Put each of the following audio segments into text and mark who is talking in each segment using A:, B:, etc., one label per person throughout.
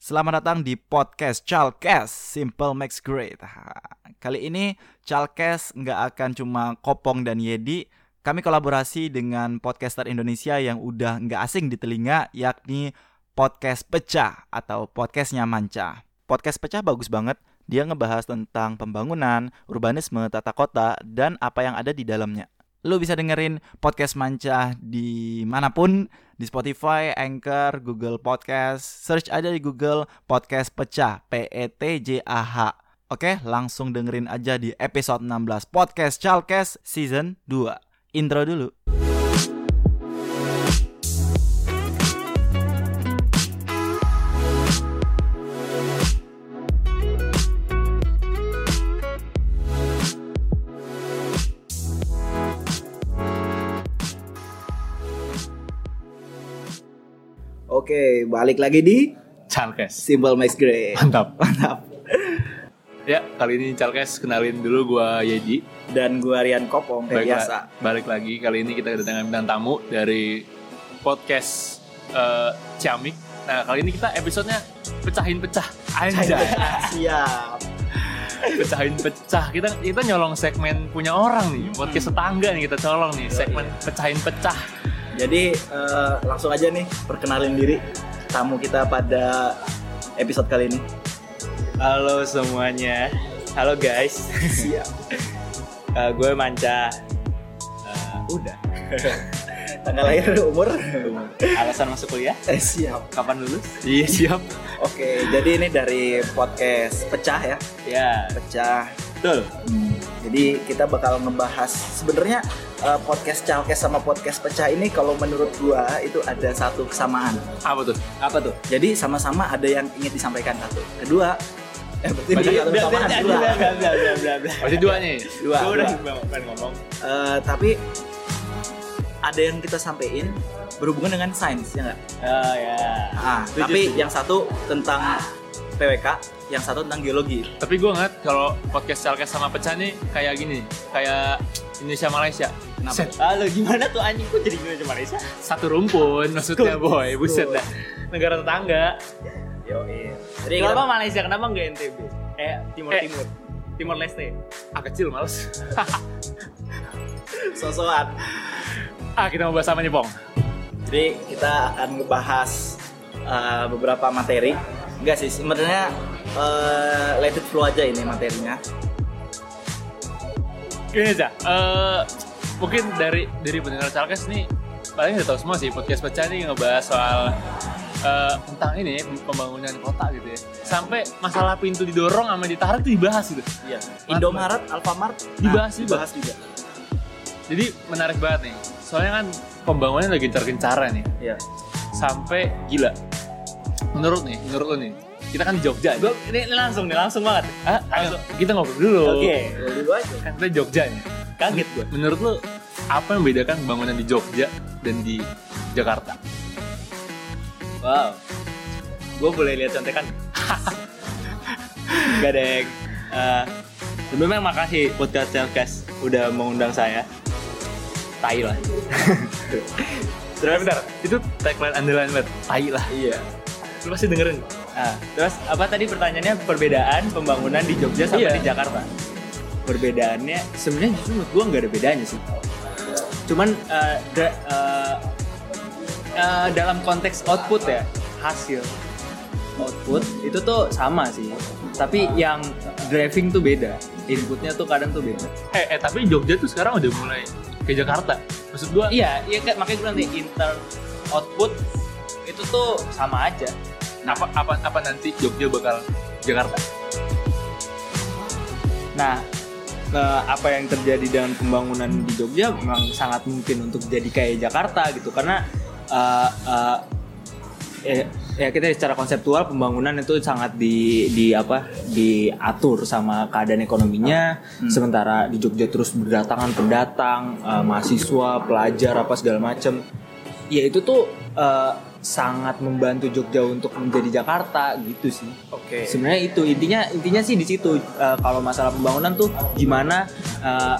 A: Selamat datang di podcast Chalkes Simple Max Great. Kali ini Chalkes nggak akan cuma Kopong dan Yedi. Kami kolaborasi dengan podcaster Indonesia yang udah nggak asing di telinga, yakni podcast Pecah atau podcastnya Manca. Podcast Pecah bagus banget. Dia ngebahas tentang pembangunan, urbanisme, tata kota, dan apa yang ada di dalamnya. Lu bisa dengerin podcast Manca di manapun, di Spotify, Anchor, Google Podcast. Search aja di Google Podcast Pecah, P E T J A H. Oke, langsung dengerin aja di episode 16 Podcast Chalkes Season 2. Intro dulu. Oke, balik lagi di
B: Chalkes.
A: Simple Max Grey.
B: Mantap.
A: Mantap.
B: Ya, kali ini Chalkes kenalin dulu gua Yeji.
A: Dan gua Rian
C: Eh,
A: Kopong kayak
B: Baik,
A: biasa.
B: Balik lagi kali ini kita kedatangan bintang tamu dari podcast eh, Ciamik. Nah, kali ini kita episodenya pecahin pecah. Anjay,
A: Siap.
B: pecahin pecah. Kita kita nyolong segmen punya orang nih, podcast tetangga nih kita colong nih, segmen pecahin pecah.
A: Jadi eh, langsung aja nih perkenalin diri tamu kita pada episode kali ini.
C: Halo semuanya, halo guys,
A: Siap.
C: Eh, gue Manca. Eh, udah,
A: Tanggal lahir, umur.
C: alasan masuk kuliah,
A: Eh, siap.
C: kapan lulus?
B: Iya, siap.
A: Oke, jadi ini dari podcast Pecah ya,
C: Ya,
A: Pecah.
C: betul.
A: Jadi kita bakal ngebahas sebenarnya eh, podcast Chalkes sama podcast Pecah ini kalau menurut gua itu ada satu kesamaan.
B: Apa tuh?
C: Apa tuh?
A: Jadi sama-sama ada yang ingin disampaikan satu. Kedua, eh berarti ini
B: Banyak-
A: satu kesamaan kedua.
B: Masih dua nih.
A: Dua.
C: Gue udah
A: dua.
C: pengen ngomong.
A: Eh, tapi ada yang kita sampein berhubungan dengan sains ya nggak?
C: Oh ya.
A: Ah,
C: Setuju,
A: tapi
C: setuju.
A: yang satu tentang PWK, yang satu tentang geologi.
B: Tapi gue ngeliat kalau podcast Chalkes sama pecah nih kayak gini, kayak Indonesia Malaysia.
A: Kenapa?
B: Set,
C: Halo gimana tuh anjing kok jadi gimana Malaysia?
B: satu rumpun maksudnya boy buset dah
C: Negara tetangga.
A: Yo, Jadi kita-
C: Kenapa Malaysia? Kenapa nggak NTB? Eh Timur
B: Eh.
C: Timur. Timor Leste.
B: ah kecil males
A: sosokan.
B: ah kita mau bahas apa nih pong
A: Jadi kita akan ngebahas uh, beberapa materi. Enggak sih, sebenarnya uh, let it flow aja ini materinya.
B: gini aja eh, mungkin dari dari pendengar Chalkes nih paling udah tahu semua sih podcast pecah nih ngebahas soal eh, tentang ini pembangunan kota gitu ya sampai masalah pintu didorong sama ditarik itu dibahas gitu
A: Iya. Indomaret, Alfamart Nah,
B: Dibahas juga.
A: dibahas juga.
B: jadi menarik banget nih soalnya kan pembangunan udah gencar-gencaran ya
A: Iya.
B: sampai gila menurut nih menurut lo nih kita kan di Jogja nih.
C: Gue ini, ini langsung nih langsung banget.
B: Ah, ayo, kita ngobrol dulu
C: Oke.
A: Ya, Dulu aja.
B: kan kita Jogja nih
C: Kaget gue.
B: Menurut lo apa yang membedakan bangunan di Jogja dan di Jakarta?
C: Wow. Gue boleh lihat contekan? Gak deng. Eh, sebelumnya makasih podcast Selfcast udah mengundang saya. Tai lah. terus,
B: Itu tagline andalan banget. Tai lah.
A: Eh, Iya.
B: Lo pasti dengerin.
C: ah, terus apa tadi pertanyaannya perbedaan pembangunan di Jogja sama
B: Iya.
C: di Jakarta? Perbedaannya sebenarnya justru menurut gue nggak ada bedanya sih. Cuman eh, da- eh, eh, dalam konteks output ya hasil output itu tuh sama sih. Tapi yang driving tuh beda, inputnya tuh kadang tuh beda.
B: Eh, eh, tapi Jogja tuh sekarang udah mulai ke Jakarta. Maksud gua
C: Iya, iya kan makanya gue nanti intern output itu tuh sama aja.
B: apa apa apa nanti Jogja bakal Jakarta?
C: Nah, eh, apa yang terjadi dengan pembangunan di Jogja memang sangat mungkin untuk jadi kayak Jakarta gitu karena eh, eh, ya- ya kita secara konseptual pembangunan itu sangat di di apa diatur sama keadaan ekonominya sementara di Jogja terus berdatangan pendatang eh, mahasiswa pelajar apa segala macem ya itu tuh eh, sangat membantu Jogja untuk menjadi Jakarta gitu sih
A: Oke.
C: sebenarnya itu intinya intinya sih di situ Eh, kalau masalah pembangunan tuh gimana eh,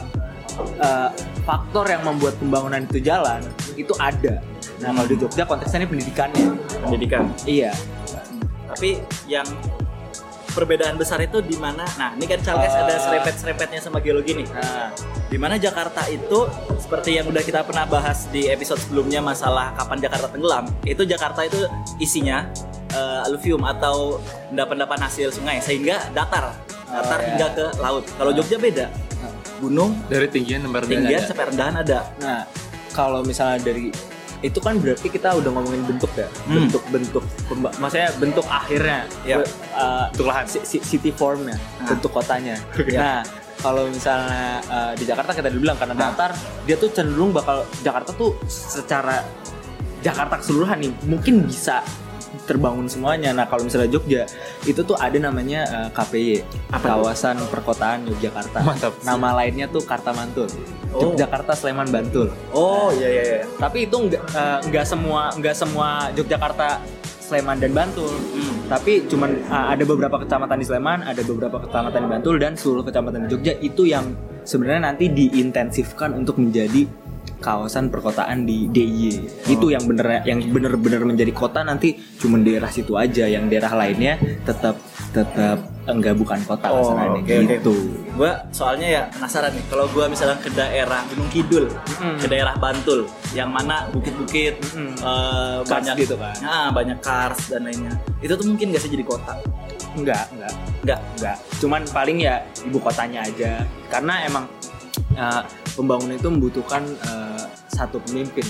C: eh, faktor yang membuat pembangunan itu jalan
A: Hmm.
C: itu ada nah kalau di Jogja konteksnya ini pendidikannya
A: Pendidikan.
C: iya
A: tapi yang perbedaan besar itu di mana nah ini kan Chalkes ada
C: Ah.
A: serepet-serepetnya sama geologi nih
C: Nah,
A: di mana Jakarta itu seperti yang udah kita pernah bahas di episode sebelumnya masalah kapan Jakarta tenggelam itu Jakarta itu isinya eh, aluvium atau endapan-endapan hasil sungai sehingga datar datar
C: iya.
A: hingga ke laut kalau Jogja Oh, beda gunung
B: Dari tinggian nomor
A: tinggian sampai rendahan ada
C: nah kalau misalnya dari itu kan berarti kita udah ngomongin bentuk ya,
A: Hmm.
C: bentuk-bentuk, pemba- maksudnya bentuk akhirnya,
A: Ya.
C: Be- uh, si- si- city formnya,
A: Nah.
C: bentuk kotanya.
A: Iya.
C: Nah, kalau misalnya uh, di Jakarta kita udah bilang karena
A: Nah.
C: datar, dia tuh cenderung bakal Jakarta tuh secara Jakarta keseluruhan nih mungkin bisa terbangun semuanya. Nah kalau misalnya Jogja itu tuh ada namanya uh, KPY, kawasan perkotaan Yogyakarta.
B: Mantap.
C: Nama lainnya tuh Karta Mantul,
A: Oh.
C: Yogyakarta Sleman Bantul
A: oh iya iya iya
C: tapi itu nggak eh, nggak semua nggak semua Yogyakarta Sleman dan Bantul
A: Hmm.
C: tapi cuman eh, ada beberapa kecamatan di Sleman ada beberapa kecamatan di Bantul dan seluruh kecamatan di Jogja itu yang sebenarnya nanti diintensifkan untuk menjadi kawasan perkotaan di
A: Oh.
C: DIY itu yang bener yang bener-bener menjadi kota nanti cuman daerah situ aja yang daerah lainnya tetap tetap enggak bukan kota
A: Oh,
C: kasarannya,
A: oke, oke.
C: gitu
A: gue soalnya ya penasaran nih kalau gue misalnya ke daerah Gunung Kidul ke daerah Bantul yang mana bukit-bukit
C: Mm-mm.
A: eh,
C: Kars
A: banyak
C: gitu kan.
A: Nah, banyak kars dan lainnya itu tuh mungkin gak sih jadi kota
C: enggak enggak
A: enggak
C: enggak cuman paling ya ibu kotanya aja karena emang eh, pembangunan itu membutuhkan eh, satu pemimpin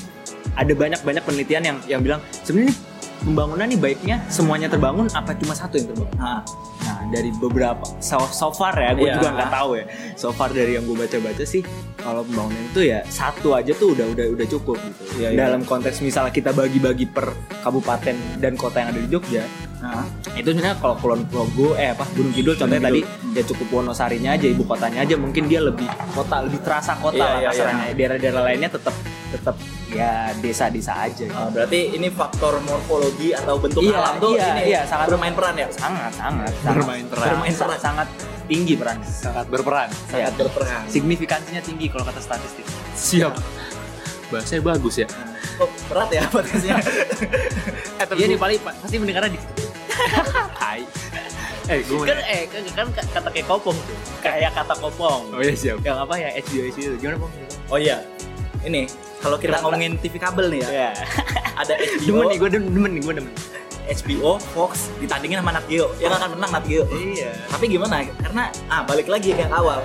C: ada banyak banyak penelitian yang yang bilang sebenarnya nih, pembangunan nih baiknya semuanya terbangun apa cuma satu yang terbangun
A: nah,
C: nah dari beberapa so, so far ya gue
A: Iya.
C: juga nggak tahu ya so far dari yang gue baca-baca sih kalau pembangunan itu ya satu aja tuh udah udah udah cukup gitu
A: Iya, iya.
C: dalam konteks misalnya kita bagi-bagi per kabupaten dan kota yang ada di Jogja
A: nah.
C: itu sebenarnya kalau Kulon Progo eh apa Gunung Kidul contohnya
A: Gunung
C: tadi
A: Kidul.
C: ya cukup Wonosarinya aja ibu kotanya aja mungkin dia lebih kota lebih terasa kota
A: Iya,
C: lah
A: iya,
C: kasarannya daerah-daerah lainnya tetap tetap ya desa-desa aja gitu.
A: Nah, berarti ini faktor morfologi atau bentuk
C: Iya,
A: alam tuh
C: iya,
A: ini
C: iya, sangat-
A: bermain peran ya
C: sangat sangat sangat
B: Bermain peran.
C: bermain peran sangat tinggi perannya
B: sangat berperan.
C: Iya.
A: sangat berperan
C: signifikansinya tinggi kalau kata statistik
B: Siap. Bahasanya bagus ya.
A: kok berat ya podcastnya
B: Eh, tapi
C: iya nih
B: gua-
C: paling pasti mendengarnya di
B: Hai. Eh, gue
C: kan eh kan, kan kata kayak kopong tuh kayak kata kopong
B: Oh iya siap.
C: yang apa ya HBO itu gimana pong
A: oh iya ini kalau kita
C: Kenapa?
A: ngomongin TV kabel nih ya
C: ya
A: ada HBO
C: demen nih gue demen nih gue demen
A: HBO Fox ditandingin sama Nat Geo yang akan menang Nat Geo
C: iya
A: tapi gimana karena ah balik lagi yang awal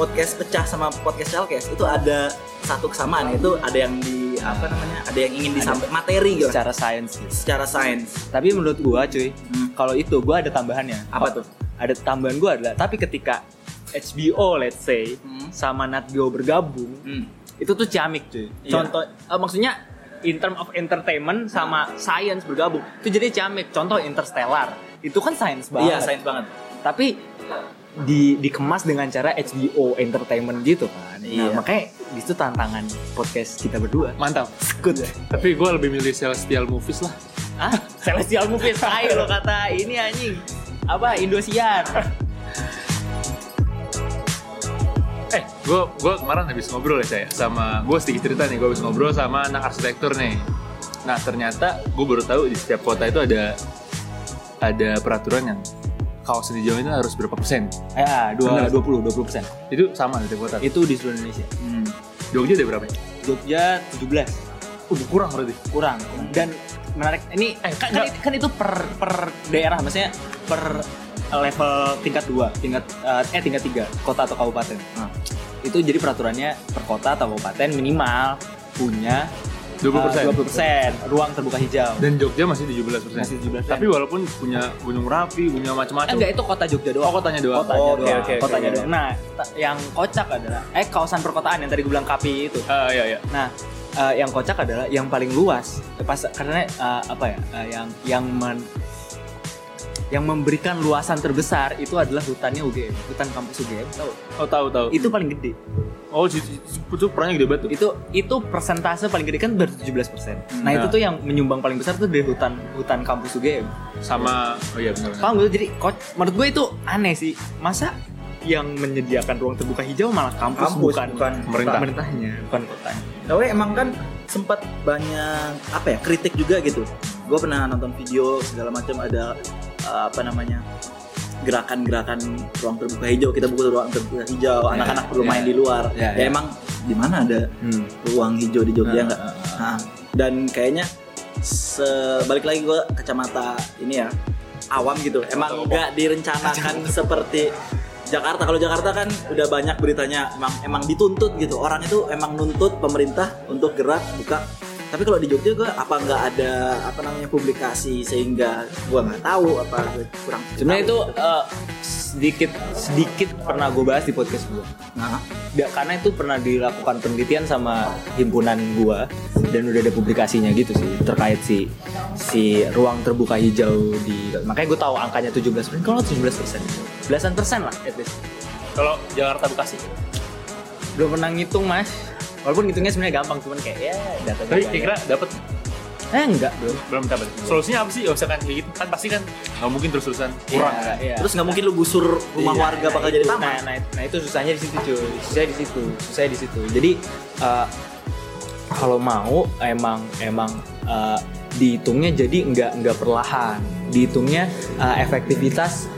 A: podcast pecah sama podcast Chalkes itu ada satu kesamaan itu ada yang di apa namanya ada yang ingin disampaikan materi gitu secara,
C: secara sains
A: sains
C: Tapi menurut gua cuy,
A: Hmm.
C: kalau itu gua ada tambahannya.
A: apa tuh
C: Ada tambahan gua adalah tapi ketika HBO let's say
A: Hmm.
C: sama Nat Geo bergabung,
A: hmm.
C: itu tuh ciamik cuy.
A: Iya.
C: Contoh eh, maksudnya in term of entertainment sama science bergabung. Itu jadi ciamik. Contoh Interstellar. Itu kan science banget.
A: iya sains banget
C: Tapi di dikemas dengan cara HBO entertainment gitu kan.
A: Iya.
C: Nah, makanya di situ tantangan podcast kita berdua. Iya.
B: Mantap.
C: Sekut.
B: Tapi gue lebih milih celestial movies lah.
C: Ah, Celestial Movies tai lo kata ini anjing. Apa Indosiar?
B: Eh, gue gue kemarin habis ngobrol ya saya sama gue sedikit cerita nih. Gue habis ngobrol sama anak arsitektur nih. Nah ternyata gue baru tahu di setiap kota itu ada ada peraturan yang kawasan hijau itu harus berapa persen.
C: Ya, dua,
B: Bener.
C: 20 20 persen.
B: Itu sama di setiap kota.
C: Itu di seluruh Indonesia.
B: Hmm. Jogja ada berapa? ya?
C: Jogja 17
B: Udah kurang berarti.
C: kurang. Dan menarik ini eh, kan, kan, kan itu per per daerah maksudnya per level tingkat 2, tingkat eh, eh tingkat 3, kota atau kabupaten.
A: Nah.
C: Itu jadi peraturannya per kota atau kabupaten minimal punya
B: 20%.
C: eh, 20% ruang terbuka hijau.
B: Dan Jogja masih 17 persen.
C: Masih 17%.
B: Tapi walaupun punya Gunung Merapi, punya
C: Eh,
B: macam-macam.
C: enggak itu kota Jogja doang.
B: Oh, kotanya doang.
C: Kotanya
A: Oh, oke,
C: doang.
A: oke, oke,
C: kotanya
A: oke.
C: doang. Nah, ta- yang kocak adalah eh kawasan perkotaan yang tadi gue bilang KPI itu.
B: Ah, iya, iya.
C: Nah, eh, yang kocak adalah yang paling luas. Eh, Pas karena eh, apa ya? eh, yang yang men- yang memberikan luasan terbesar itu adalah hutannya UGM, hutan kampus UGM. Tahu?
B: Oh tahu tahu.
C: Itu paling gede.
B: Oh situ situ- itu perannya gede banget. tuh.
C: Itu itu persentase paling gede kan baru 17%. Nah,
B: Nah.
C: itu tuh yang menyumbang paling besar tuh dari hutan hutan kampus UGM.
B: Sama oh iya benar.
C: Paham gue jadi coach, menurut gue itu aneh sih. Masa yang menyediakan ruang terbuka hijau malah kampus,
A: Kampus,
C: bukan,
A: bukan
B: pemerintah.
C: pemerintahnya, bukan kotanya.
A: tapi emang kan sempat banyak apa ya kritik juga gitu gue pernah nonton video segala macam ada eh, apa namanya gerakan-gerakan ruang terbuka hijau kita butuh ruang terbuka hijau anak-anak perlu
C: ya.
A: main di luar
C: Ya,
A: ya
C: ya.
A: emang di mana ada
C: Hmm.
A: ruang hijau di Jogja
C: Ah,
A: nggak
C: ah,
A: Nah, dan kayaknya sebalik lagi gue kacamata ini ya awam gitu emang nggak direncanakan seperti Jakarta kalau Jakarta kan udah banyak beritanya emang emang dituntut gitu orang itu emang nuntut pemerintah untuk gerak buka tapi kalau di Jogja gue apa nggak ada apa namanya publikasi sehingga gue nggak tahu apa gua kurang
C: Sebenarnya
A: tahu
C: itu eh, sedikit sedikit pernah gue bahas di podcast gue.
A: nah,
C: Da- karena itu pernah dilakukan penelitian sama himpunan gua dan udah ada publikasinya gitu sih terkait si si ruang terbuka hijau di makanya gue tahu angkanya 17 persen kalau 17 persen belasan persen lah at least
B: Kalau Jakarta Bekasi.
C: Iya, belum pernah ngitung mas walaupun ngitungnya sebenarnya gampang cuman kayak ya data
B: Tapi kira-kira dapat
C: eh enggak belum
B: belum dapat. Solusinya apa sih? Gak usah kan kayak gitu. Kan pasti kan nggak mungkin terus-terusan kurang.
C: Iya, iya.
A: terus nggak mungkin lu gusur rumah
C: Iya,
A: warga
C: nah
A: bakal
C: itu,
A: jadi taman
C: Nah, nah, nah itu susahnya di situ cuy, susahnya di situ, susahnya di situ. Jadi eh, kalau mau emang emang eh, dihitungnya jadi nggak nggak perlahan, dihitungnya eh, efektivitas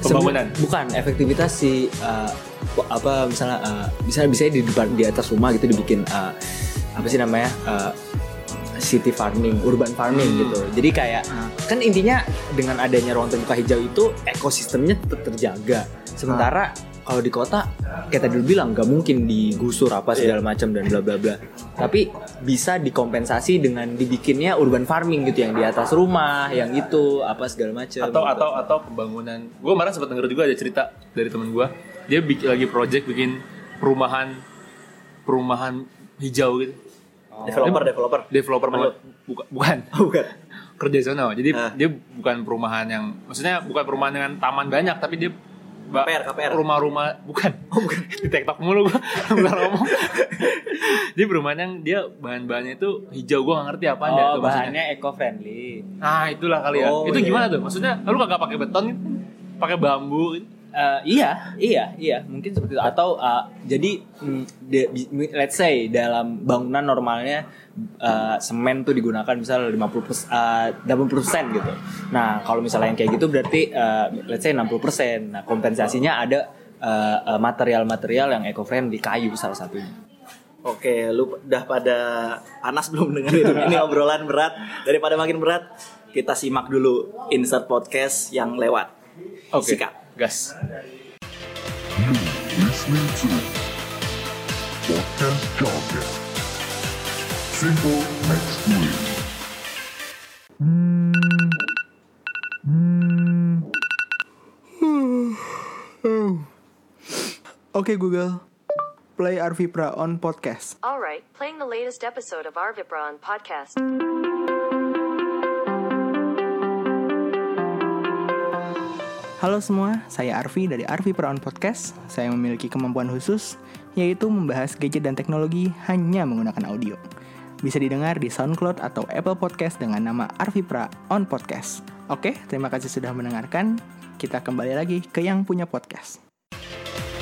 C: sebe-
B: Pembangunan.
C: bukan efektivitas si eh, po- apa misalnya eh, misalnya bisa di depan di atas rumah gitu dibikin eh, apa sih namanya eh, city farming, urban farming
B: Hmm.
C: gitu. Jadi kayak
B: Ah.
C: kan intinya dengan adanya ruang terbuka hijau itu ekosistemnya tetap terjaga. Sementara
B: Ah.
C: kalau di kota kayak tadi lu bilang nggak mungkin digusur apa
B: Iya.
C: segala macam dan bla bla bla. Tapi bisa dikompensasi dengan dibikinnya urban farming gitu yang di atas rumah, yang itu apa segala macam.
B: atau
C: gitu.
B: atau atau pembangunan gue kemarin sempat denger juga ada cerita dari temen gue dia bikin lagi project bikin perumahan perumahan hijau gitu
C: oh.
A: developer developer Oh,
B: developer banget bukan bukan
A: bukan
B: kerja di sana jadi
A: Ah.
B: dia bukan perumahan yang maksudnya bukan perumahan dengan taman banyak tapi dia ba-
A: KPR, KPR.
B: rumah-rumah bukan Oh, bukan di tiktok mulu gue bukan ngomong jadi perumahan yang dia bahan-bahannya itu hijau gue gak ngerti apa
C: Oh,
B: aja
C: bahannya eco friendly.
B: nah itulah kali ya
C: Oh,
B: itu
C: iya.
B: gimana tuh maksudnya lu kagak pakai beton gitu? pakai bambu gitu?
C: Eh, iya, iya, iya, mungkin seperti itu. Atau eh, jadi, mm, de- bi- mi- let's say dalam bangunan normalnya eh, semen tuh digunakan misalnya 50 pers- eh, 80% gitu. Nah, kalau misalnya yang kayak gitu berarti eh, let's say 60%. Nah, kompensasinya ada eh, eh, material-material yang eco friendly kayu salah satunya.
A: Oke, lu udah pada panas belum dengerin ini obrolan berat daripada makin berat kita simak dulu insert podcast yang lewat.
B: Oke.
A: Sikat.
B: Gas.
D: listening to Podcast Jargon. Simple makes great.
E: Oke Google, play Arvipra on podcast.
F: All right, playing the latest episode of Arvibron podcast.
E: Halo semua, saya Arvi dari Arvipra on podcast. Saya memiliki kemampuan khusus, yaitu membahas gadget dan teknologi hanya menggunakan audio. Bisa didengar di SoundCloud atau Apple Podcast dengan nama Arvipra on podcast. Oke, terima kasih sudah mendengarkan. Kita kembali lagi ke yang punya podcast.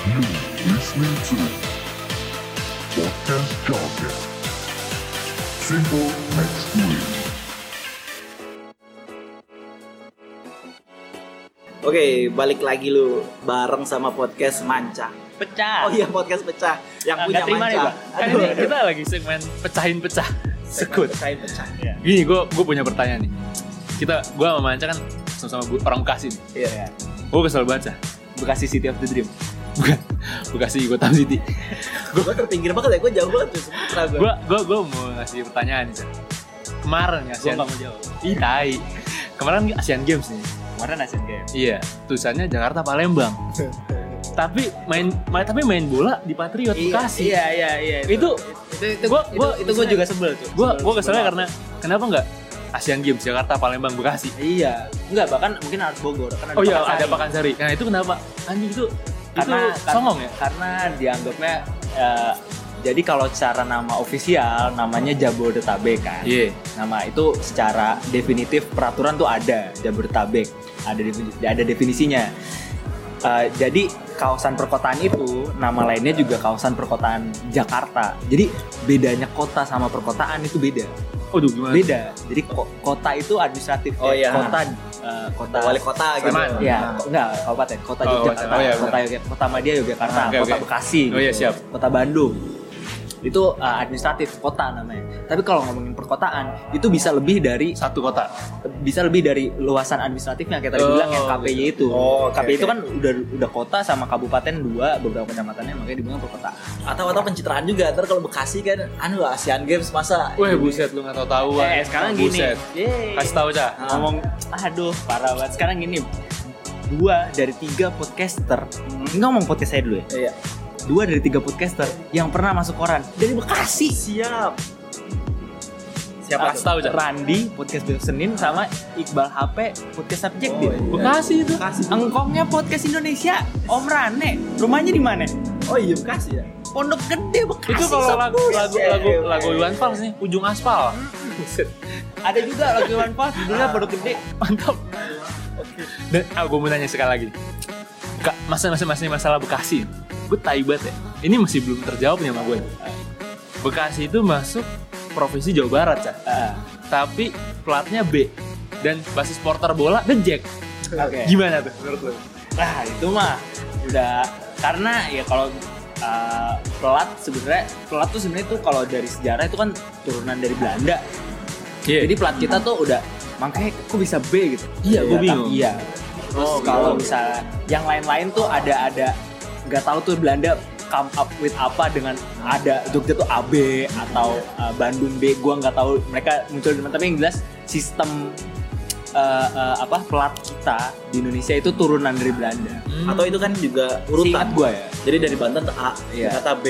D: You listening to Podcast Jargon. Simple makes great.
A: Oke, balik lagi lu bareng sama podcast Manca.
C: Pecah.
A: Oh iya, podcast pecah yang punya Manca.
B: Kan
A: Aduh,
B: ini kita lagi segmen pecahin pecah. Iya. Sekut.
A: saya pecah.
B: Gini, gue gue punya pertanyaan nih. Kita gue sama Manca kan sama-sama bu- orang Bekasi nih.
C: Iya, iya.
B: Gue kesel banget Cah.
C: Bekasi City of the Dream.
B: Bukan Bekasi gue Tam City.
A: Gue terpinggir banget ya, gue jauh banget tuh Sumatera gue.
B: Gue gue gue mau ngasih pertanyaan nih Cah. Kemarin
C: Gua
B: ngasian.
C: nggak mau jawab.
B: Ih, tai. Kemarin Asian Games nih.
C: Kemarin Asian Games.
B: Iya, tulisannya Jakarta Palembang. tapi main ma- tapi main bola di Patriot Bekasi.
C: Iya, iya, iya.
B: Itu
C: itu itu
B: Gua-
C: itu,
B: gua-
C: itu gue juga sebel tuh.
B: gue gue
C: Sebel-
B: keselnya karena kenapa nggak Asian Games Jakarta Palembang Bekasi?
C: Iya, enggak bahkan mungkin harus Bogor kan
B: Oh iya
C: Pakansari.
B: ada Pakansari. Nah itu kenapa? Anjing itu
C: karena
B: itu
C: kar-
B: songong ya?
C: Karena dianggapnya eh, jadi kalau secara nama ofisial namanya Jabodetabek kan.
B: Iya.
C: Nama itu secara definitif peraturan tuh ada Jabodetabek. Ada defini- ada definisinya. Eh, jadi kawasan perkotaan itu nama lainnya juga kawasan perkotaan Jakarta. Jadi bedanya kota sama perkotaan itu beda
B: Aduh gimana?
C: beda jadi ko- kota itu administratif
A: Oh, iya.
C: ya. kota eh, kota
A: wali kota gitu.
B: Sleman.
C: Ya, enggak kabupaten, kota
B: Oh,
C: Yogyakarta,
B: oh, iya, benar.
C: kota Yogyakarta, kota Madia Yogyakarta,
B: Oke,
C: kota
B: oke.
C: Bekasi,
B: Oh, iya,
C: gitu,
B: siap.
C: kota Bandung. Itu uh, administratif kota namanya. Tapi kalau ngomongin perkotaan, itu bisa lebih dari
B: Satu kota.
C: bisa lebih dari luasan administratifnya kayak tadi
B: Oh,
C: bilang yang KPY itu.
B: Oh, oke,
C: KPY itu
B: oke.
C: kan udah udah kota sama kabupaten dua beberapa kecamatannya makanya dibilang perkotaan.
A: Atau atau pencitraan juga. Ntar kalau Bekasi kan anu Asian Games masa
B: Weh buset lu nggak tahu tahu.
C: Eh, sekarang gini.
B: iya. Buset.
C: Yeay.
B: Kasih tahu cah.
A: Ah.
C: ngomong aduh parah banget sekarang gini dua dari tiga podcaster
B: Hmm.
C: ini ngomong podcast saya dulu ya
A: Iya.
C: dua dari tiga podcaster yang pernah masuk koran dari Bekasi siap
B: Siapa? Kasih Ah, tahu Ah. cah.
C: Randi podcast besok Senin sama Iqbal HP podcast subjek
B: Oh,
C: Din.
B: iya. Bekasi itu.
C: engkongnya podcast Indonesia Om Rane rumahnya di mana
A: Oh iya Bekasi ya.
C: Pondok Gede Bekasi
B: Itu kalau
C: sob.
B: lagu lagu
C: Iya,
B: lagu lagu Iwan Fals nih, ujung aspal.
C: ada juga lagu Iwan Fals judulnya Pondok Gede
B: Mantap. Dan aku mau nanya sekali lagi. Kak, masa masa masa masalah Bekasi. Gue tai banget ya. Ini masih belum terjawab nih sama gue. Bekasi itu masuk provinsi Jawa Barat, Cah.
C: Ah,
B: Tapi platnya B. Dan basis porter bola The Jack.
A: Eh.
C: oke
B: Gimana tuh menurut lo?
C: Nah itu mah udah karena ya kalau uh, pelat sebenarnya pelat tuh sebenarnya tuh kalau dari sejarah itu kan turunan dari Belanda. Jadi pelat kita tuh udah makanya kok bisa B gitu.
B: Iya, gua
C: tapi
B: bingung.
C: Iya. Terus kalau misalnya yang lain-lain tuh ada ada nggak tahu tuh Belanda come up with apa dengan ada Jogja tuh AB atau uh, Bandung B gua nggak tahu mereka muncul di mana tapi yang jelas sistem uh, uh, apa pelat kita di Indonesia itu turunan dari Belanda.
A: Atau itu kan juga urutan.
C: Seingat gua ya.
A: Jadi dari Banten ke A,
C: Iya.
A: Jakarta B,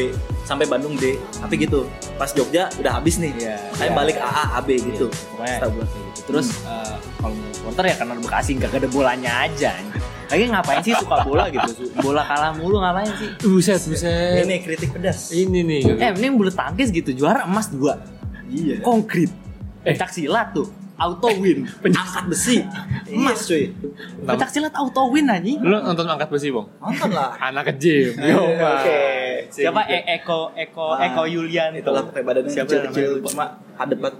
A: sampai Bandung D. Tapi gitu. Pas Jogja udah habis nih.
C: Iya.
A: Saya
C: Iya.
A: balik AA AB gitu.
C: Pokoknya
A: Setahu gua. Hmm.
C: gitu. Terus eh, kalau mau supporter ya karena Bekasi nggak ada bolanya aja. anjing. Lagi ngapain sih suka bola gitu? Su- Bola kalah mulu ngapain sih?
B: Buset,
A: Ini
B: buset.
A: nih, kritik pedas.
B: Ini nih.
C: Eh mending bulu tangkis gitu juara emas dua. Iya. Konkret.
A: Eh.
C: Pencak silat tuh. Auto win.
A: Angkat besi. Emas cuy. Iya.
C: Pencak silat auto win anjing.
B: Lu nonton angkat besi, Bong?
A: Nonton lah.
B: Anak kecil.
A: Iya, Eh.
B: Yo,
C: Siapa E- Eko Eko
A: Ah,
C: Eko Yulian itu?
A: Itulah pakai badannya
C: Siapa
A: kecil-kecil
C: namanya?
A: cuma adet banget.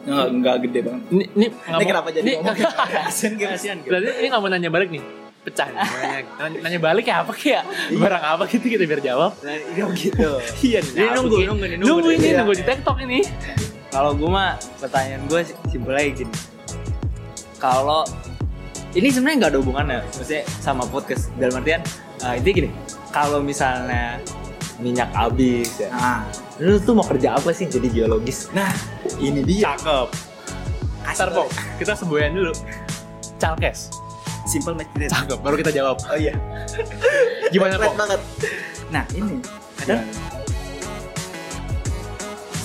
A: Enggak, enggak gede banget.
B: Ini, ini,
A: Ini kenapa jadi ngomong?
C: Asian Games. Asian Games.
B: Berarti ini nggak mau nanya balik nih pecah nih. nanya, nanya- nanya balik ya apa kayak barang apa gitu kita biar jawab
C: Nah, iya gitu.
B: iya nih
C: Ini nunggu,
B: Oke.
C: nunggu nih, nunggu
B: nunggu
C: nih.
B: ini
C: Iya.
B: nunggu di TikTok ini
C: Kalau gue mah pertanyaan gue simpel aja gini. Kalau ini sebenarnya nggak ada hubungannya, maksudnya sama podcast dalam artian eh, intinya gini. Kalau misalnya minyak habis ya,
A: Nah,
C: lu tuh mau kerja apa sih jadi geologis?
A: nah ini dia
B: cakep Ntar Pong, kita semboyan dulu calkes
A: simple match grade.
B: cakep baru kita jawab
A: Oh iya,
B: gimana
A: keren
B: Pong?
A: banget. Nah, ini kadang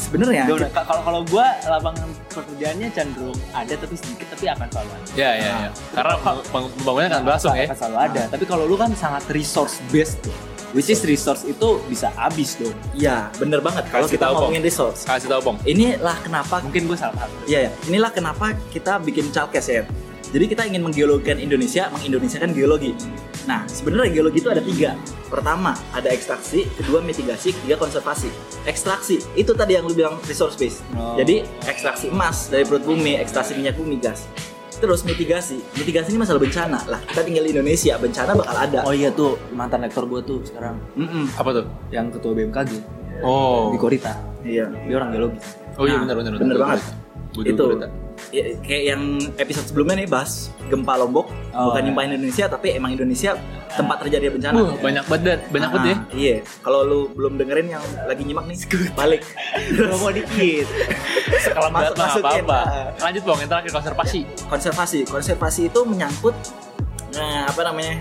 A: sebenarnya
C: Gua udah- nah, Kalau kalau gue lapangan pekerjaannya cenderung ada tapi sedikit tapi akan selalu ada.
B: ya ya ya karena peng- peng- pembangunannya kan berlangsung ya
C: Akan selalu ada. Tapi kalau lu kan sangat resource based tuh. Which is resource itu bisa habis dong.
A: Iya, bener banget. Kalau
B: Kasih
A: kita
B: tahu, Pong.
A: ngomongin resource,
B: kasih tau Pong
A: inilah kenapa
C: Mungkin gue salah satu.
A: Iya, ya. inilah kenapa kita bikin calkes ya. Jadi kita ingin menggeologikan Indonesia, mengindonesiakan geologi. Nah, sebenarnya geologi itu ada tiga. Pertama, ada ekstraksi, kedua mitigasi, ketiga konservasi. Ekstraksi, itu tadi yang lu bilang resource based.
C: Oh.
A: Jadi, ekstraksi emas dari perut bumi, ekstraksi minyak bumi, gas. Terus mitigasi, mitigasi ini masalah bencana. Lah, kita tinggal di Indonesia, bencana bakal ada.
C: Oh iya tuh mantan lektor gue tuh sekarang
A: Mm-mm.
B: apa tuh
C: yang ketua BMKG
B: oh
C: di Korita.
A: Iya.
C: Dia orang geologis.
B: oh iya
A: Nah,
B: benar benar
A: bener banget.
B: Budu
A: itu
B: Berita.
A: ya, kayak yang episode sebelumnya nih bahas gempa Lombok
C: Oh,
A: bukan
C: iya.
A: nyumpahin Indonesia tapi emang Indonesia tempat terjadi bencana
B: Wah, Ah. Uh, banyak banget, banyak banget ya.
A: Ah, iya kalau lu belum dengerin yang lagi nyimak nih balik
C: Gua mau dikit.
B: Kalau
A: masuk- Iya.
B: berat mah
A: masukin,
B: apa-apa.
A: ah.
B: Lanjut Pong, yang terakhir konservasi.
A: konservasi konservasi itu menyangkut nah, apa namanya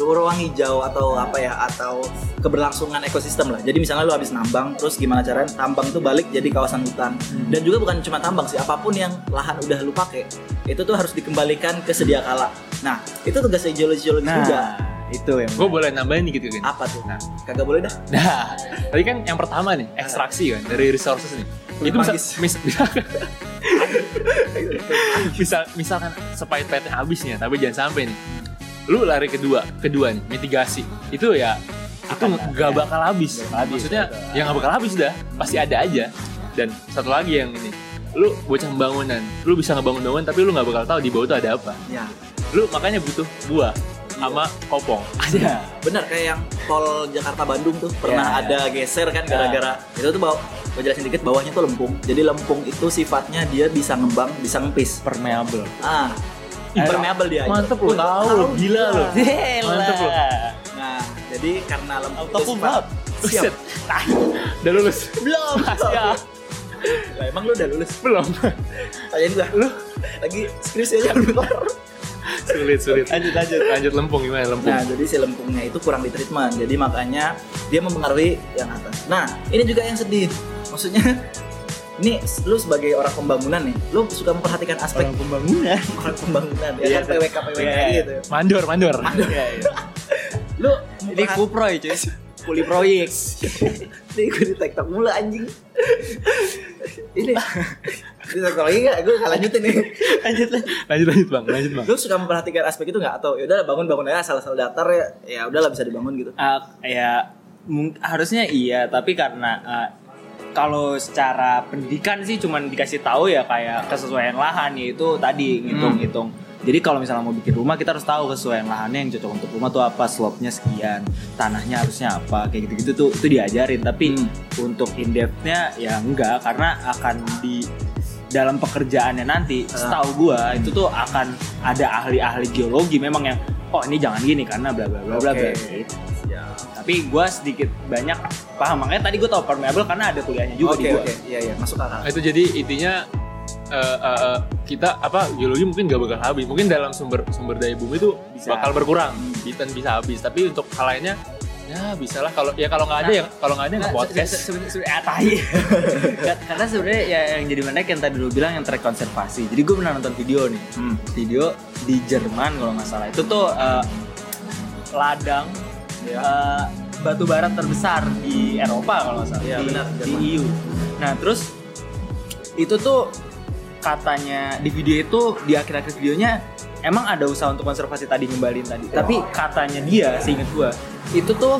A: ruang hijau atau
C: Hmm.
A: apa ya atau keberlangsungan ekosistem lah jadi misalnya lu habis nambang terus gimana caranya tambang itu balik jadi kawasan hutan
C: Hmm.
A: dan juga bukan cuma tambang sih apapun yang lahan udah lu pakai itu tuh harus dikembalikan ke sedia kala nah itu tugas geologis geologis
C: Nah,
A: juga
C: itu yang
B: Gue boleh nambahin dikit gitu.
A: apa tuh kagak boleh dah
B: Nah, tadi kan yang pertama nih, ekstraksi kan dari resources nih.
A: Kulit
B: itu bisa,
A: manggis.
B: mis, misal, misalkan sepahit-pahitnya habisnya, tapi jangan sampai nih. Lu lari kedua, kedua nih, mitigasi. Itu ya itu gak bakal habis.
C: Nggak bakal habis,
B: Maksudnya
C: betul.
B: ya gak bakal habis dah, pasti ada aja. Dan satu lagi yang ini, lu bocah bangunan lu bisa ngebangun bangunan tapi lu nggak bakal tahu di bawah itu ada apa
A: Ya.
B: lu makanya butuh buah sama kopong
C: Ada.
A: Benar kayak yang tol Jakarta Bandung tuh pernah
C: Ya,
A: ada geser kan gara-gara itu tuh bawah mau jelasin dikit bawahnya tuh lempung. Jadi lempung itu sifatnya dia bisa ngembang, bisa ngempis.
C: Permeable.
A: Ah. Impermeable dia.
B: mantep lu tahu lu gila lu mantep lu
A: Nah, jadi karena lempung itu
C: Auto cum
A: sifat-
C: laude.
B: Buset.
A: Siap.
B: Ah, udah lulus
A: Belum.
B: ya
A: Lah, emang lu udah lulus?
B: belum
A: Tanyain gua. Lu lagi skripsi aja belum kelar.
B: sulit sulit lanjut lanjut lanjut lempung gimana lempung
A: Nah, jadi si lempungnya itu kurang di treatment. Jadi makanya dia mempengaruhi yang atas. Nah, ini juga yang sedih. Maksudnya ini lu sebagai orang pembangunan nih, lu suka memperhatikan aspek
C: Orang pembangunan.
A: orang pembangunan ya
C: Iya,
A: kan PWK PWK
C: iya, iya.
A: gitu.
B: mandor mandor
A: Lu
C: Ini
A: memperhat-
C: kuproy cuy. Kuli proyek.
A: Nih gue di TikTok mulu anjing. ini di TikTok lagi gak? Gue gak lanjutin nih.
C: Lanjut lah.
B: lanjut lanjut bang lanjut bang
A: Lu suka memperhatikan aspek itu gak? Atau yaudah bangun bangun aja asal-asal datar ya, ya udahlah bisa dibangun gitu.
C: Ah, ya mung- harusnya iya tapi karena ah, kalau secara pendidikan sih cuman dikasih tahu ya kayak kesesuaian lahan yaitu tadi ngitung-ngitung. Jadi kalau misalnya mau bikin rumah kita harus tahu kesesuaian lahannya yang cocok untuk rumah tuh apa, slopnya sekian, tanahnya harusnya apa, kayak gitu-gitu tuh itu diajarin. Tapi untuk in depth-nya ya enggak karena akan di dalam pekerjaannya nanti, setahu gua itu tuh akan ada ahli-ahli geologi memang yang oh ini jangan gini karena bla bla bla bla bla
A: Oke.
C: gitu tapi gue sedikit banyak paham makanya tadi gue tau permeable karena ada kuliahnya juga
A: Oke
C: di gue
A: oke, iya iya masuk akal.
B: Nah, itu jadi intinya eh, eh, eh, kita apa geologi mungkin gak bakal habis mungkin dalam sumber sumber daya bumi itu
C: Bisa.
B: bakal berkurang bisa bisa habis tapi untuk hal lainnya ya bisalah kalau ya kalau nggak ada ya kalau nggak ada
C: Nah,
B: nggak podcast
C: ah, karena sebenarnya ya yang jadi menarik yang tadi lu bilang yang track konservasi jadi gue pernah nonton video nih video di Jerman kalau nggak salah itu tuh eh, ladang eh, batu bara terbesar di Eropa kalau nggak salah
A: Iya,
C: di,
A: benar,
C: di
A: Jerman.
C: EU nah terus itu tuh katanya di video itu di akhir-akhir videonya emang ada usaha untuk konservasi tadi ngembalin tadi
A: Iya.
C: tapi katanya dia seingat gua itu tuh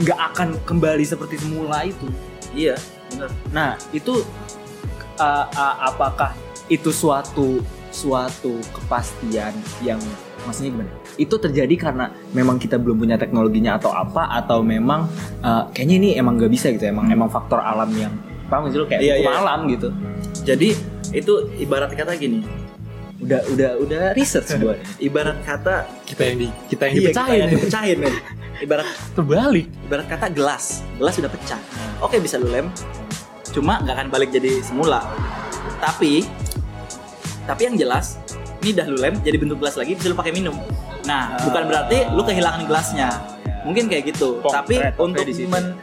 C: nggak akan kembali seperti semula itu
A: Iya, benar.
C: Nah, itu uh, uh, apakah itu suatu suatu kepastian yang maksudnya gimana? Itu terjadi karena memang kita belum punya teknologinya atau apa atau memang uh, kayaknya ini emang nggak bisa gitu. Emang emang faktor alam yang paham gitu kayak
A: Iya,
C: hukum
A: iya.
C: alam gitu.
A: Jadi itu ibarat kata gini,
C: Udah udah udah riset sebuah.
A: ibarat kata
B: kita yang di kita yang
A: iya, kita
B: dipecahin
A: yang dipecahin men. Ibarat
B: terbalik
A: ibarat kata gelas, gelas sudah pecah. Oke bisa lu lem, cuma nggak akan balik jadi semula. Tapi tapi yang jelas ini dah lu lem jadi bentuk gelas lagi bisa lu pakai minum. Nah bukan berarti lu kehilangan gelasnya, mungkin kayak gitu.
B: Pokret,
A: tapi
B: pokret
A: untuk
B: di situ.
A: men-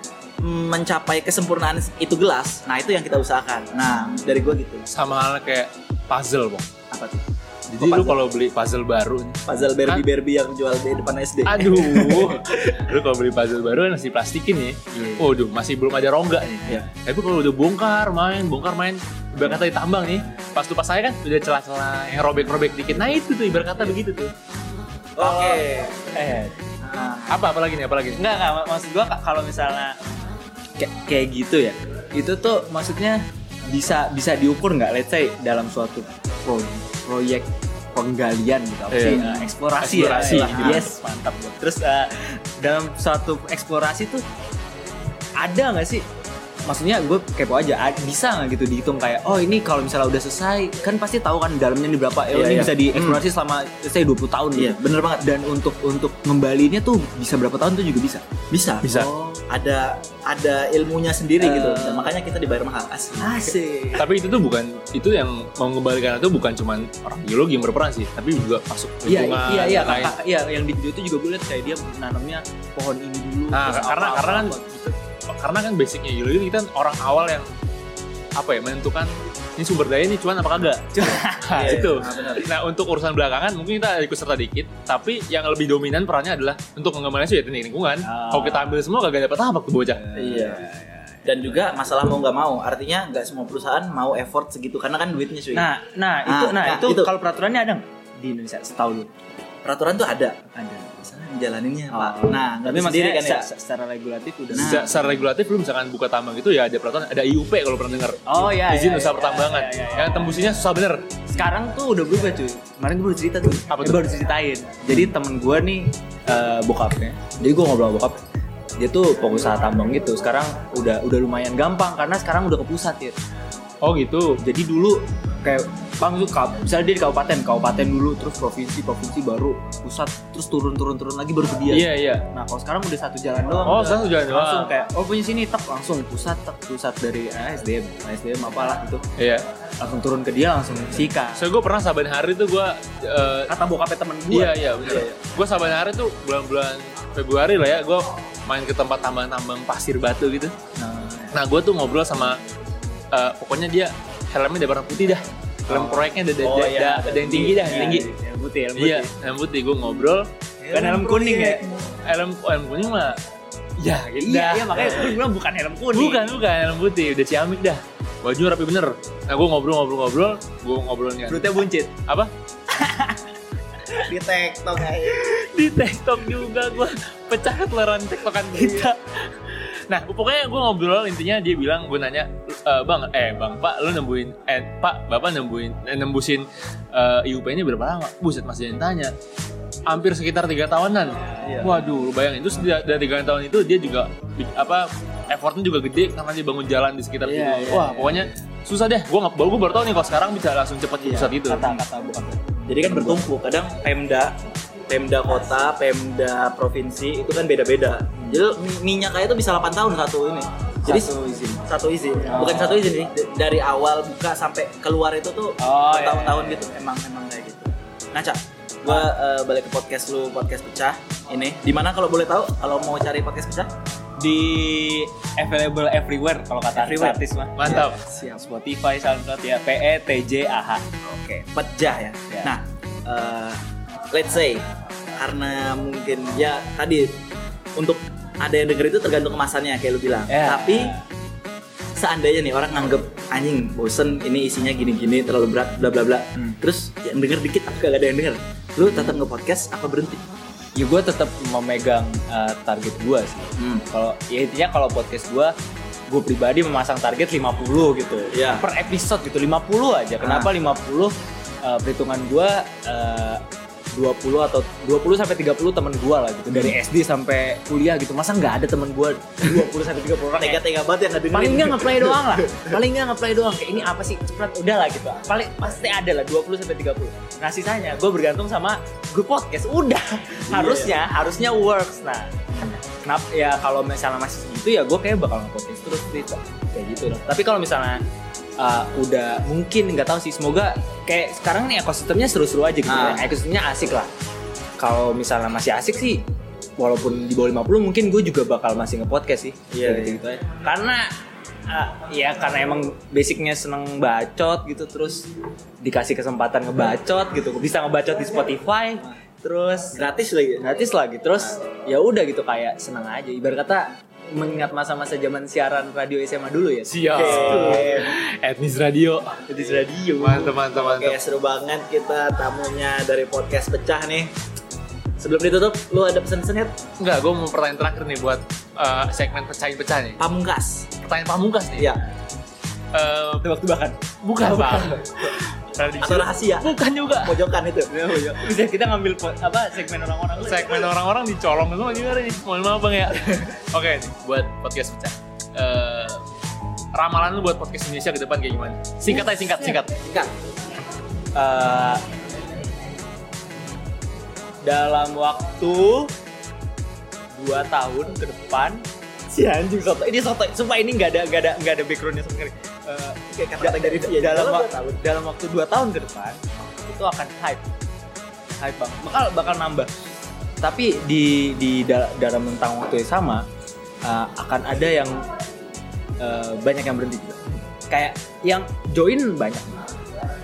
A: mencapai kesempurnaan itu gelas, nah itu yang kita usahakan. Nah dari gua gitu
B: sama hal kayak puzzle bang
A: apa tuh?
C: Oh,
B: jadi
A: Kok
B: lu
A: puzzle?
B: kalau beli puzzle baru nih,
A: Puzzle Barbie Barbie yang jual di depan SD.
B: aduh lu kalau beli puzzle baru kan masih plastikin ya
C: Iya.
B: waduh masih belum ada rongga nih
A: Iya.
B: tapi kalau udah bongkar main bongkar main ibarat kata ditambang nih pas tuh pas saya kan udah celah-celah yang robek-robek dikit nah itu tuh ibarat
C: Iya.
B: kata begitu tuh
A: Oke.
C: Eh,
A: Nah,
B: apa apalagi nih apalagi
C: Enggak, enggak. Mak- Maksud gua kalau misalnya kayak, kayak gitu ya, itu tuh maksudnya bisa bisa diukur nggak? Let's say dalam suatu pro- proyek penggalian gitu, apa
B: Iya.
C: sih? Eh, eksplorasi,
B: Eksplorasi,
C: ya.
B: gitu.
C: Yes, mantap. gua. Terus eh, dalam suatu eksplorasi tuh ada nggak sih? Maksudnya gue kepo aja, ad- bisa nggak gitu dihitung kayak, oh ini kalau misalnya udah selesai, kan pasti tahu kan dalamnya ini berapa, eh,
A: Iya,
C: ini
A: iya.
C: bisa dieksplorasi selama saya 20 tahun
A: Iya,
C: bener banget. Dan untuk untuk ngembalinya tuh bisa berapa tahun tuh juga bisa.
A: bisa.
B: Bisa.
A: Oh, ada ada ilmunya sendiri
C: Eh.
A: gitu. Dan makanya kita dibayar mahal. Asik. Asik.
B: tapi itu tuh bukan itu yang mau mengembalikan itu bukan cuman orang geologi yang berperan sih tapi juga masuk
C: Iya,
B: lingkungan
C: iya, iya,
B: dan lain.
C: kakak- iya, yang di video itu juga gue liat kayak dia nanamnya pohon ini dulu.
B: Nah,
C: terus
B: karena
C: apa-apa,
B: karena kan
C: apa.
B: karena kan basicnya geologi kita orang awal yang apa ya menentukan ini sumber daya ini cuman apa kagak Nah,
A: Iya,
B: itu
A: iya, benar.
B: nah untuk urusan belakangan mungkin kita ikut serta dikit tapi yang lebih dominan perannya adalah untuk mengembangkan sih ya teknik lingkungan
C: Ah.
B: kalau kita ambil semua kagak dapat apa tuh bocah
A: Iya. Dan juga masalah mau nggak mau, artinya nggak semua perusahaan mau effort segitu karena kan duitnya cuy.
C: Nah, nah, itu
A: Ah,
C: nah,
A: nah,
C: itu,
A: itu.
C: kalau peraturannya ada nggak di Indonesia setahu lu?
A: peraturan tuh ada.
C: Ada.
A: misalnya dijalaninnya
C: Oh.
A: pak nah nggak
C: tapi
A: bisa sendiri
C: maksudnya
A: kan ya
C: se- se- secara regulatif udah
A: Nah.
B: Se- secara regulatif lu misalkan buka tambang itu ya ada peraturan ada IUP kalau pernah dengar
C: Oh, iya,
B: izin
C: iya,
B: usaha
C: iya,
B: pertambangan
C: iya, iya, iya.
B: yang tembusinya susah bener
C: sekarang tuh udah berubah cuy kemarin gue baru cerita tuh
B: Apa tuh?
C: Eh,
B: Hmm.
C: baru ceritain jadi temen gue nih eh, bokapnya jadi gue ngobrol sama bokap dia tuh pengusaha tambang gitu sekarang udah udah lumayan gampang karena sekarang udah ke pusat ya
B: oh gitu
C: jadi dulu kayak bang itu kap- misalnya dia di kabupaten kabupaten dulu terus provinsi provinsi baru pusat terus turun turun turun lagi baru ke dia
B: iya iya
C: Nah kalau sekarang udah satu jalan doang.
B: Oh,
C: udah.
B: sekarang satu jalan doang.
C: Langsung kayak oh punya sini tek langsung pusat tek pusat dari eh, SDM SDM apalah gitu
B: iya
C: langsung turun ke dia langsung sikat.
B: so gue pernah saban hari tuh gue eh,
C: Kata bokapnya temen Nah, gue.
B: Iya iya benar. Gue saban hari tuh bulan-bulan Februari lah ya, gue main ke tempat tambang-tambang pasir batu gitu.
C: Nah,
B: Nah gue tuh ngobrol sama eh, pokoknya dia helmnya udah warna putih dah, helm proyeknya udah
C: Oh,
B: ada
C: iya, ada
B: yang tinggi dah, yang tinggi.
C: Yang putih, yang putih.
B: Iya, helm putih gue ngobrol,
C: Kan helm kuning ya.
B: helm oh, helm kuning mah, ya gitu
C: Iya,
B: dah.
C: iya makanya gue bilang bukan helm kuning.
B: Bukan bukan helm putih, udah ciamik dah. Baju rapi bener. Nah gue ngobrol-ngobrol-ngobrol, gue ngobrolnya
C: Perutnya buncit.
B: apa?
A: di TikTok aja
B: di TikTok juga gue pecah ketularan TikTokan kita. Nah, pokoknya gue ngobrol intinya dia bilang gue nanya, "E, bang, eh bang, pak, lu nembuin, eh pak, bapak nembuin, eh, nembusin eh, IUP ini berapa lama? Buset, masih yang tanya. Hampir sekitar tiga tahunan. Waduh, lu bayangin. Terus dia- dari tiga tahun itu dia juga bi- apa effortnya juga gede karena dia bangun jalan di sekitar
C: Iya,
B: situ.
C: iya,
B: Wah,
C: iya.
B: pokoknya susah deh. Gue nggak, baru gue baru tau nih kalau sekarang bisa langsung cepet ke pusat gitu. itu.
C: Kata Gitu. kata bokapnya.
A: jadi kan bertumpu kadang Pemda Pemda kota Pemda provinsi itu kan beda-beda jadi mi- minyak aja itu bisa 8 tahun satu ini jadi
C: Hmm. Satu izin. Oh.
A: satu izin bukan satu izin sih D- dari awal buka sampai keluar itu tuh
C: Oh, iya,
A: bertahun-tahun
C: iya, iya.
A: gitu emang emang kayak gitu nah Ca, gua eh, balik ke podcast lu podcast pecah ini dimana kalau boleh tahu kalau mau cari podcast pecah
C: Di available everywhere kalau kata
A: Everywhere.
C: artis mah.
B: Mantap.
C: Siap. Spotify, SoundCloud ya. P E T J A H.
A: Oke, pecah ya.
C: Ya.
A: Nah, eh, let's say karena mungkin ya tadi untuk ada yang denger itu tergantung kemasannya kayak lu bilang.
C: Ya.
A: Tapi seandainya nih orang nganggep anjing bosen ini isinya gini-gini terlalu berat bla bla bla.
C: Hmm.
A: Terus yang denger dikit tapi gak ada yang denger. Lu tetap nge-podcast apa berhenti?
C: ya gue tetap memegang uh, target gue sih
A: Hmm.
C: kalau ya intinya kalau podcast gue gue pribadi memasang target 50 gitu
A: Iya. Ah.
C: per episode gitu 50 aja kenapa 50 uh, perhitungan gue uh, 20 atau 20 sampai 30 temen gue lah gitu
A: Hmm.
C: dari SD sampai kuliah gitu masa nggak ada temen gue 20 sampai 30 orang ya?
A: Tega-tega banget yang gak dengerin.
C: paling nggak ngeplay doang lah paling nggak ngeplay doang kayak ini apa sih cepet udah lah gitu paling pasti ada lah 20 sampai 30 nah sisanya gue bergantung sama gue podcast udah
A: Iya.
C: harusnya harusnya works nah kenapa ya kalau misalnya masih gitu ya gue kayak bakal nge-podcast terus gitu kayak gitu loh tapi kalau misalnya uh, udah mungkin nggak tahu sih semoga kayak sekarang nih ekosistemnya seru-seru aja gitu
A: Ah.
C: ya. ekosistemnya asik lah kalau misalnya masih asik sih walaupun di bawah 50 mungkin gue juga bakal masih nge-podcast sih
A: Iya, iya.
C: Kayak gitu-gitu aja. karena ah, ya karena emang basicnya seneng bacot gitu terus dikasih kesempatan ngebacot gitu bisa ngebacot di Spotify terus
A: Gratis lagi.
C: gratis lagi terus ya udah gitu kayak seneng aja ibarat kata mengingat masa-masa zaman siaran radio SMA dulu ya
B: Siap. Etnis Radio. Etnis Radio. Mantap, mantap, mantap.
A: Oke, seru banget kita tamunya dari podcast pecah nih. Sebelum ditutup, lu ada pesan-pesan ya?
B: Enggak, gue mau pertanyaan terakhir nih buat eh, segmen pecahin-pecah nih.
A: Pamungkas.
B: Pertanyaan pamungkas nih.
A: Iya.
B: Eh,
C: tebak-tebakan
B: bukan, Pak. Prediksi.
A: Atau rahasia.
B: Bukan juga. Iya.
A: pojokan itu.
C: bisa kita ngambil po- apa segmen orang-orang lu.
B: Segmen orang-orang dicolong semua juga nih. Mohon maaf, Bang ya. Oke, nih, buat podcast pecah. Eh, ramalan lu buat podcast Indonesia ke depan kayak gimana? Singkat aja,
C: Iya.
B: singkat, singkat.
A: Singkat.
C: Eh, dalam waktu dua tahun ke depan si anjing soto ini soto sumpah ini nggak ada nggak ada nggak ada backgroundnya sama sekali Eh,
A: Kayak kata
C: da-
A: dari dia.
C: dalam
A: Dalam
C: wa- dalam waktu dua tahun ke depan itu akan hype hype banget bakal bakal nambah tapi di di da- dalam rentang waktu yang sama eh, akan ada yang eh, banyak yang berhenti juga kayak yang join banyak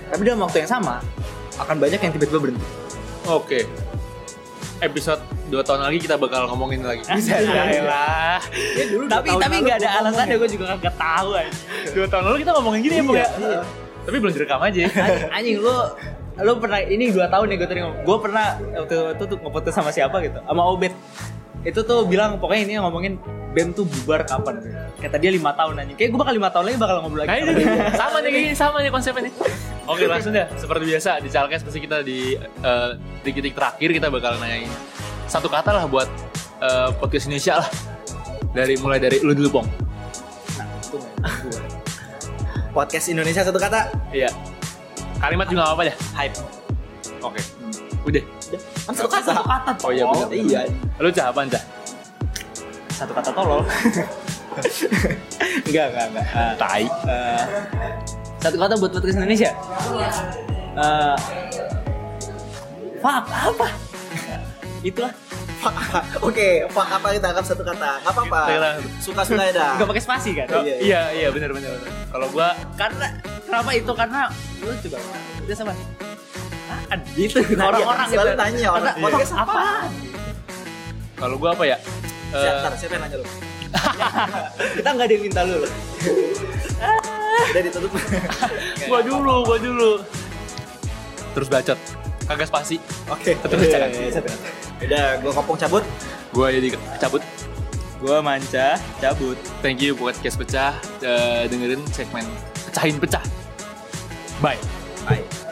C: tapi dalam waktu yang sama akan banyak yang tiba-tiba berhenti
B: Oke. Episode 2 tahun lagi kita bakal ngomongin lagi. ya
C: lah tapi tapi nggak ada alasannya gue juga nggak tahu aja
B: 2 tahun lalu kita ngomongin gini ya, Bang ya? Tapi belum direkam aja.
C: anjing lu lu pernah ini dua tahun ya gue tadi ngomong gue pernah waktu itu tuh ngepodcast sama siapa gitu sama Obed itu tuh bilang pokoknya ini ngomongin BEM tuh bubar kapan gitu. kata dia lima tahun anjing kayak gue bakal lima tahun lagi bakal ngobrol
B: Nah,
C: lagi sama
B: ini
C: dia.
B: sama nih kayak gini, sama nih konsepnya nih. Oke langsung deh, seperti biasa di Calkes pasti kita di eh, titik-titik terakhir kita bakal nanyain satu kata lah buat eh, podcast Indonesia lah. Dari mulai dari lu dulu Bong.
A: Nah, Podcast Indonesia satu kata
B: Iya. Kalimat juga nggak apa-apa deh.
A: hype.
B: Oke. Udah.
A: Kan satu kata. Satu kata.
B: Oh iya benar.
A: Iya.
B: Lu cah apaan cah?
C: satu kata tolol enggak enggak enggak Eh,
B: Tai.
C: eh, satu kata buat podcast Indonesia Iya. Eh, fuck apa itulah
A: Oke, fuck apa kita anggap satu kata? Gak apa-apa.
B: Kita kira-
A: Suka-suka ya dah.
C: Gitu nggak pakai spasi kan
A: Iya, iya.
B: Iya iya benar benar. benar. Kalau gua
C: karena kenapa itu karena lu juga dia sama apaan gitu orang-orang
A: kan selalu
C: gitu.
A: tanya orang,
C: Karena Eh.
A: podcast
C: apaan?
A: apaan?
B: kalau gua apa ya? Eh,
A: Siapa, siapa yang nanya lu?
C: kita nggak ada yang minta lu loh.
A: Udah ditutup.
B: gua dulu, gua dulu. Terus bacot. Kagak spasi.
A: Oke.
B: Terus
C: Iya,
B: jalan.
C: iya, iya.
A: Udah, gua kopong cabut.
B: Gua jadi cabut.
C: gua manca cabut
B: Thank you buat Kes Pecah. Eh, dengerin segmen Pecahin Pecah. Bye.
A: Bye.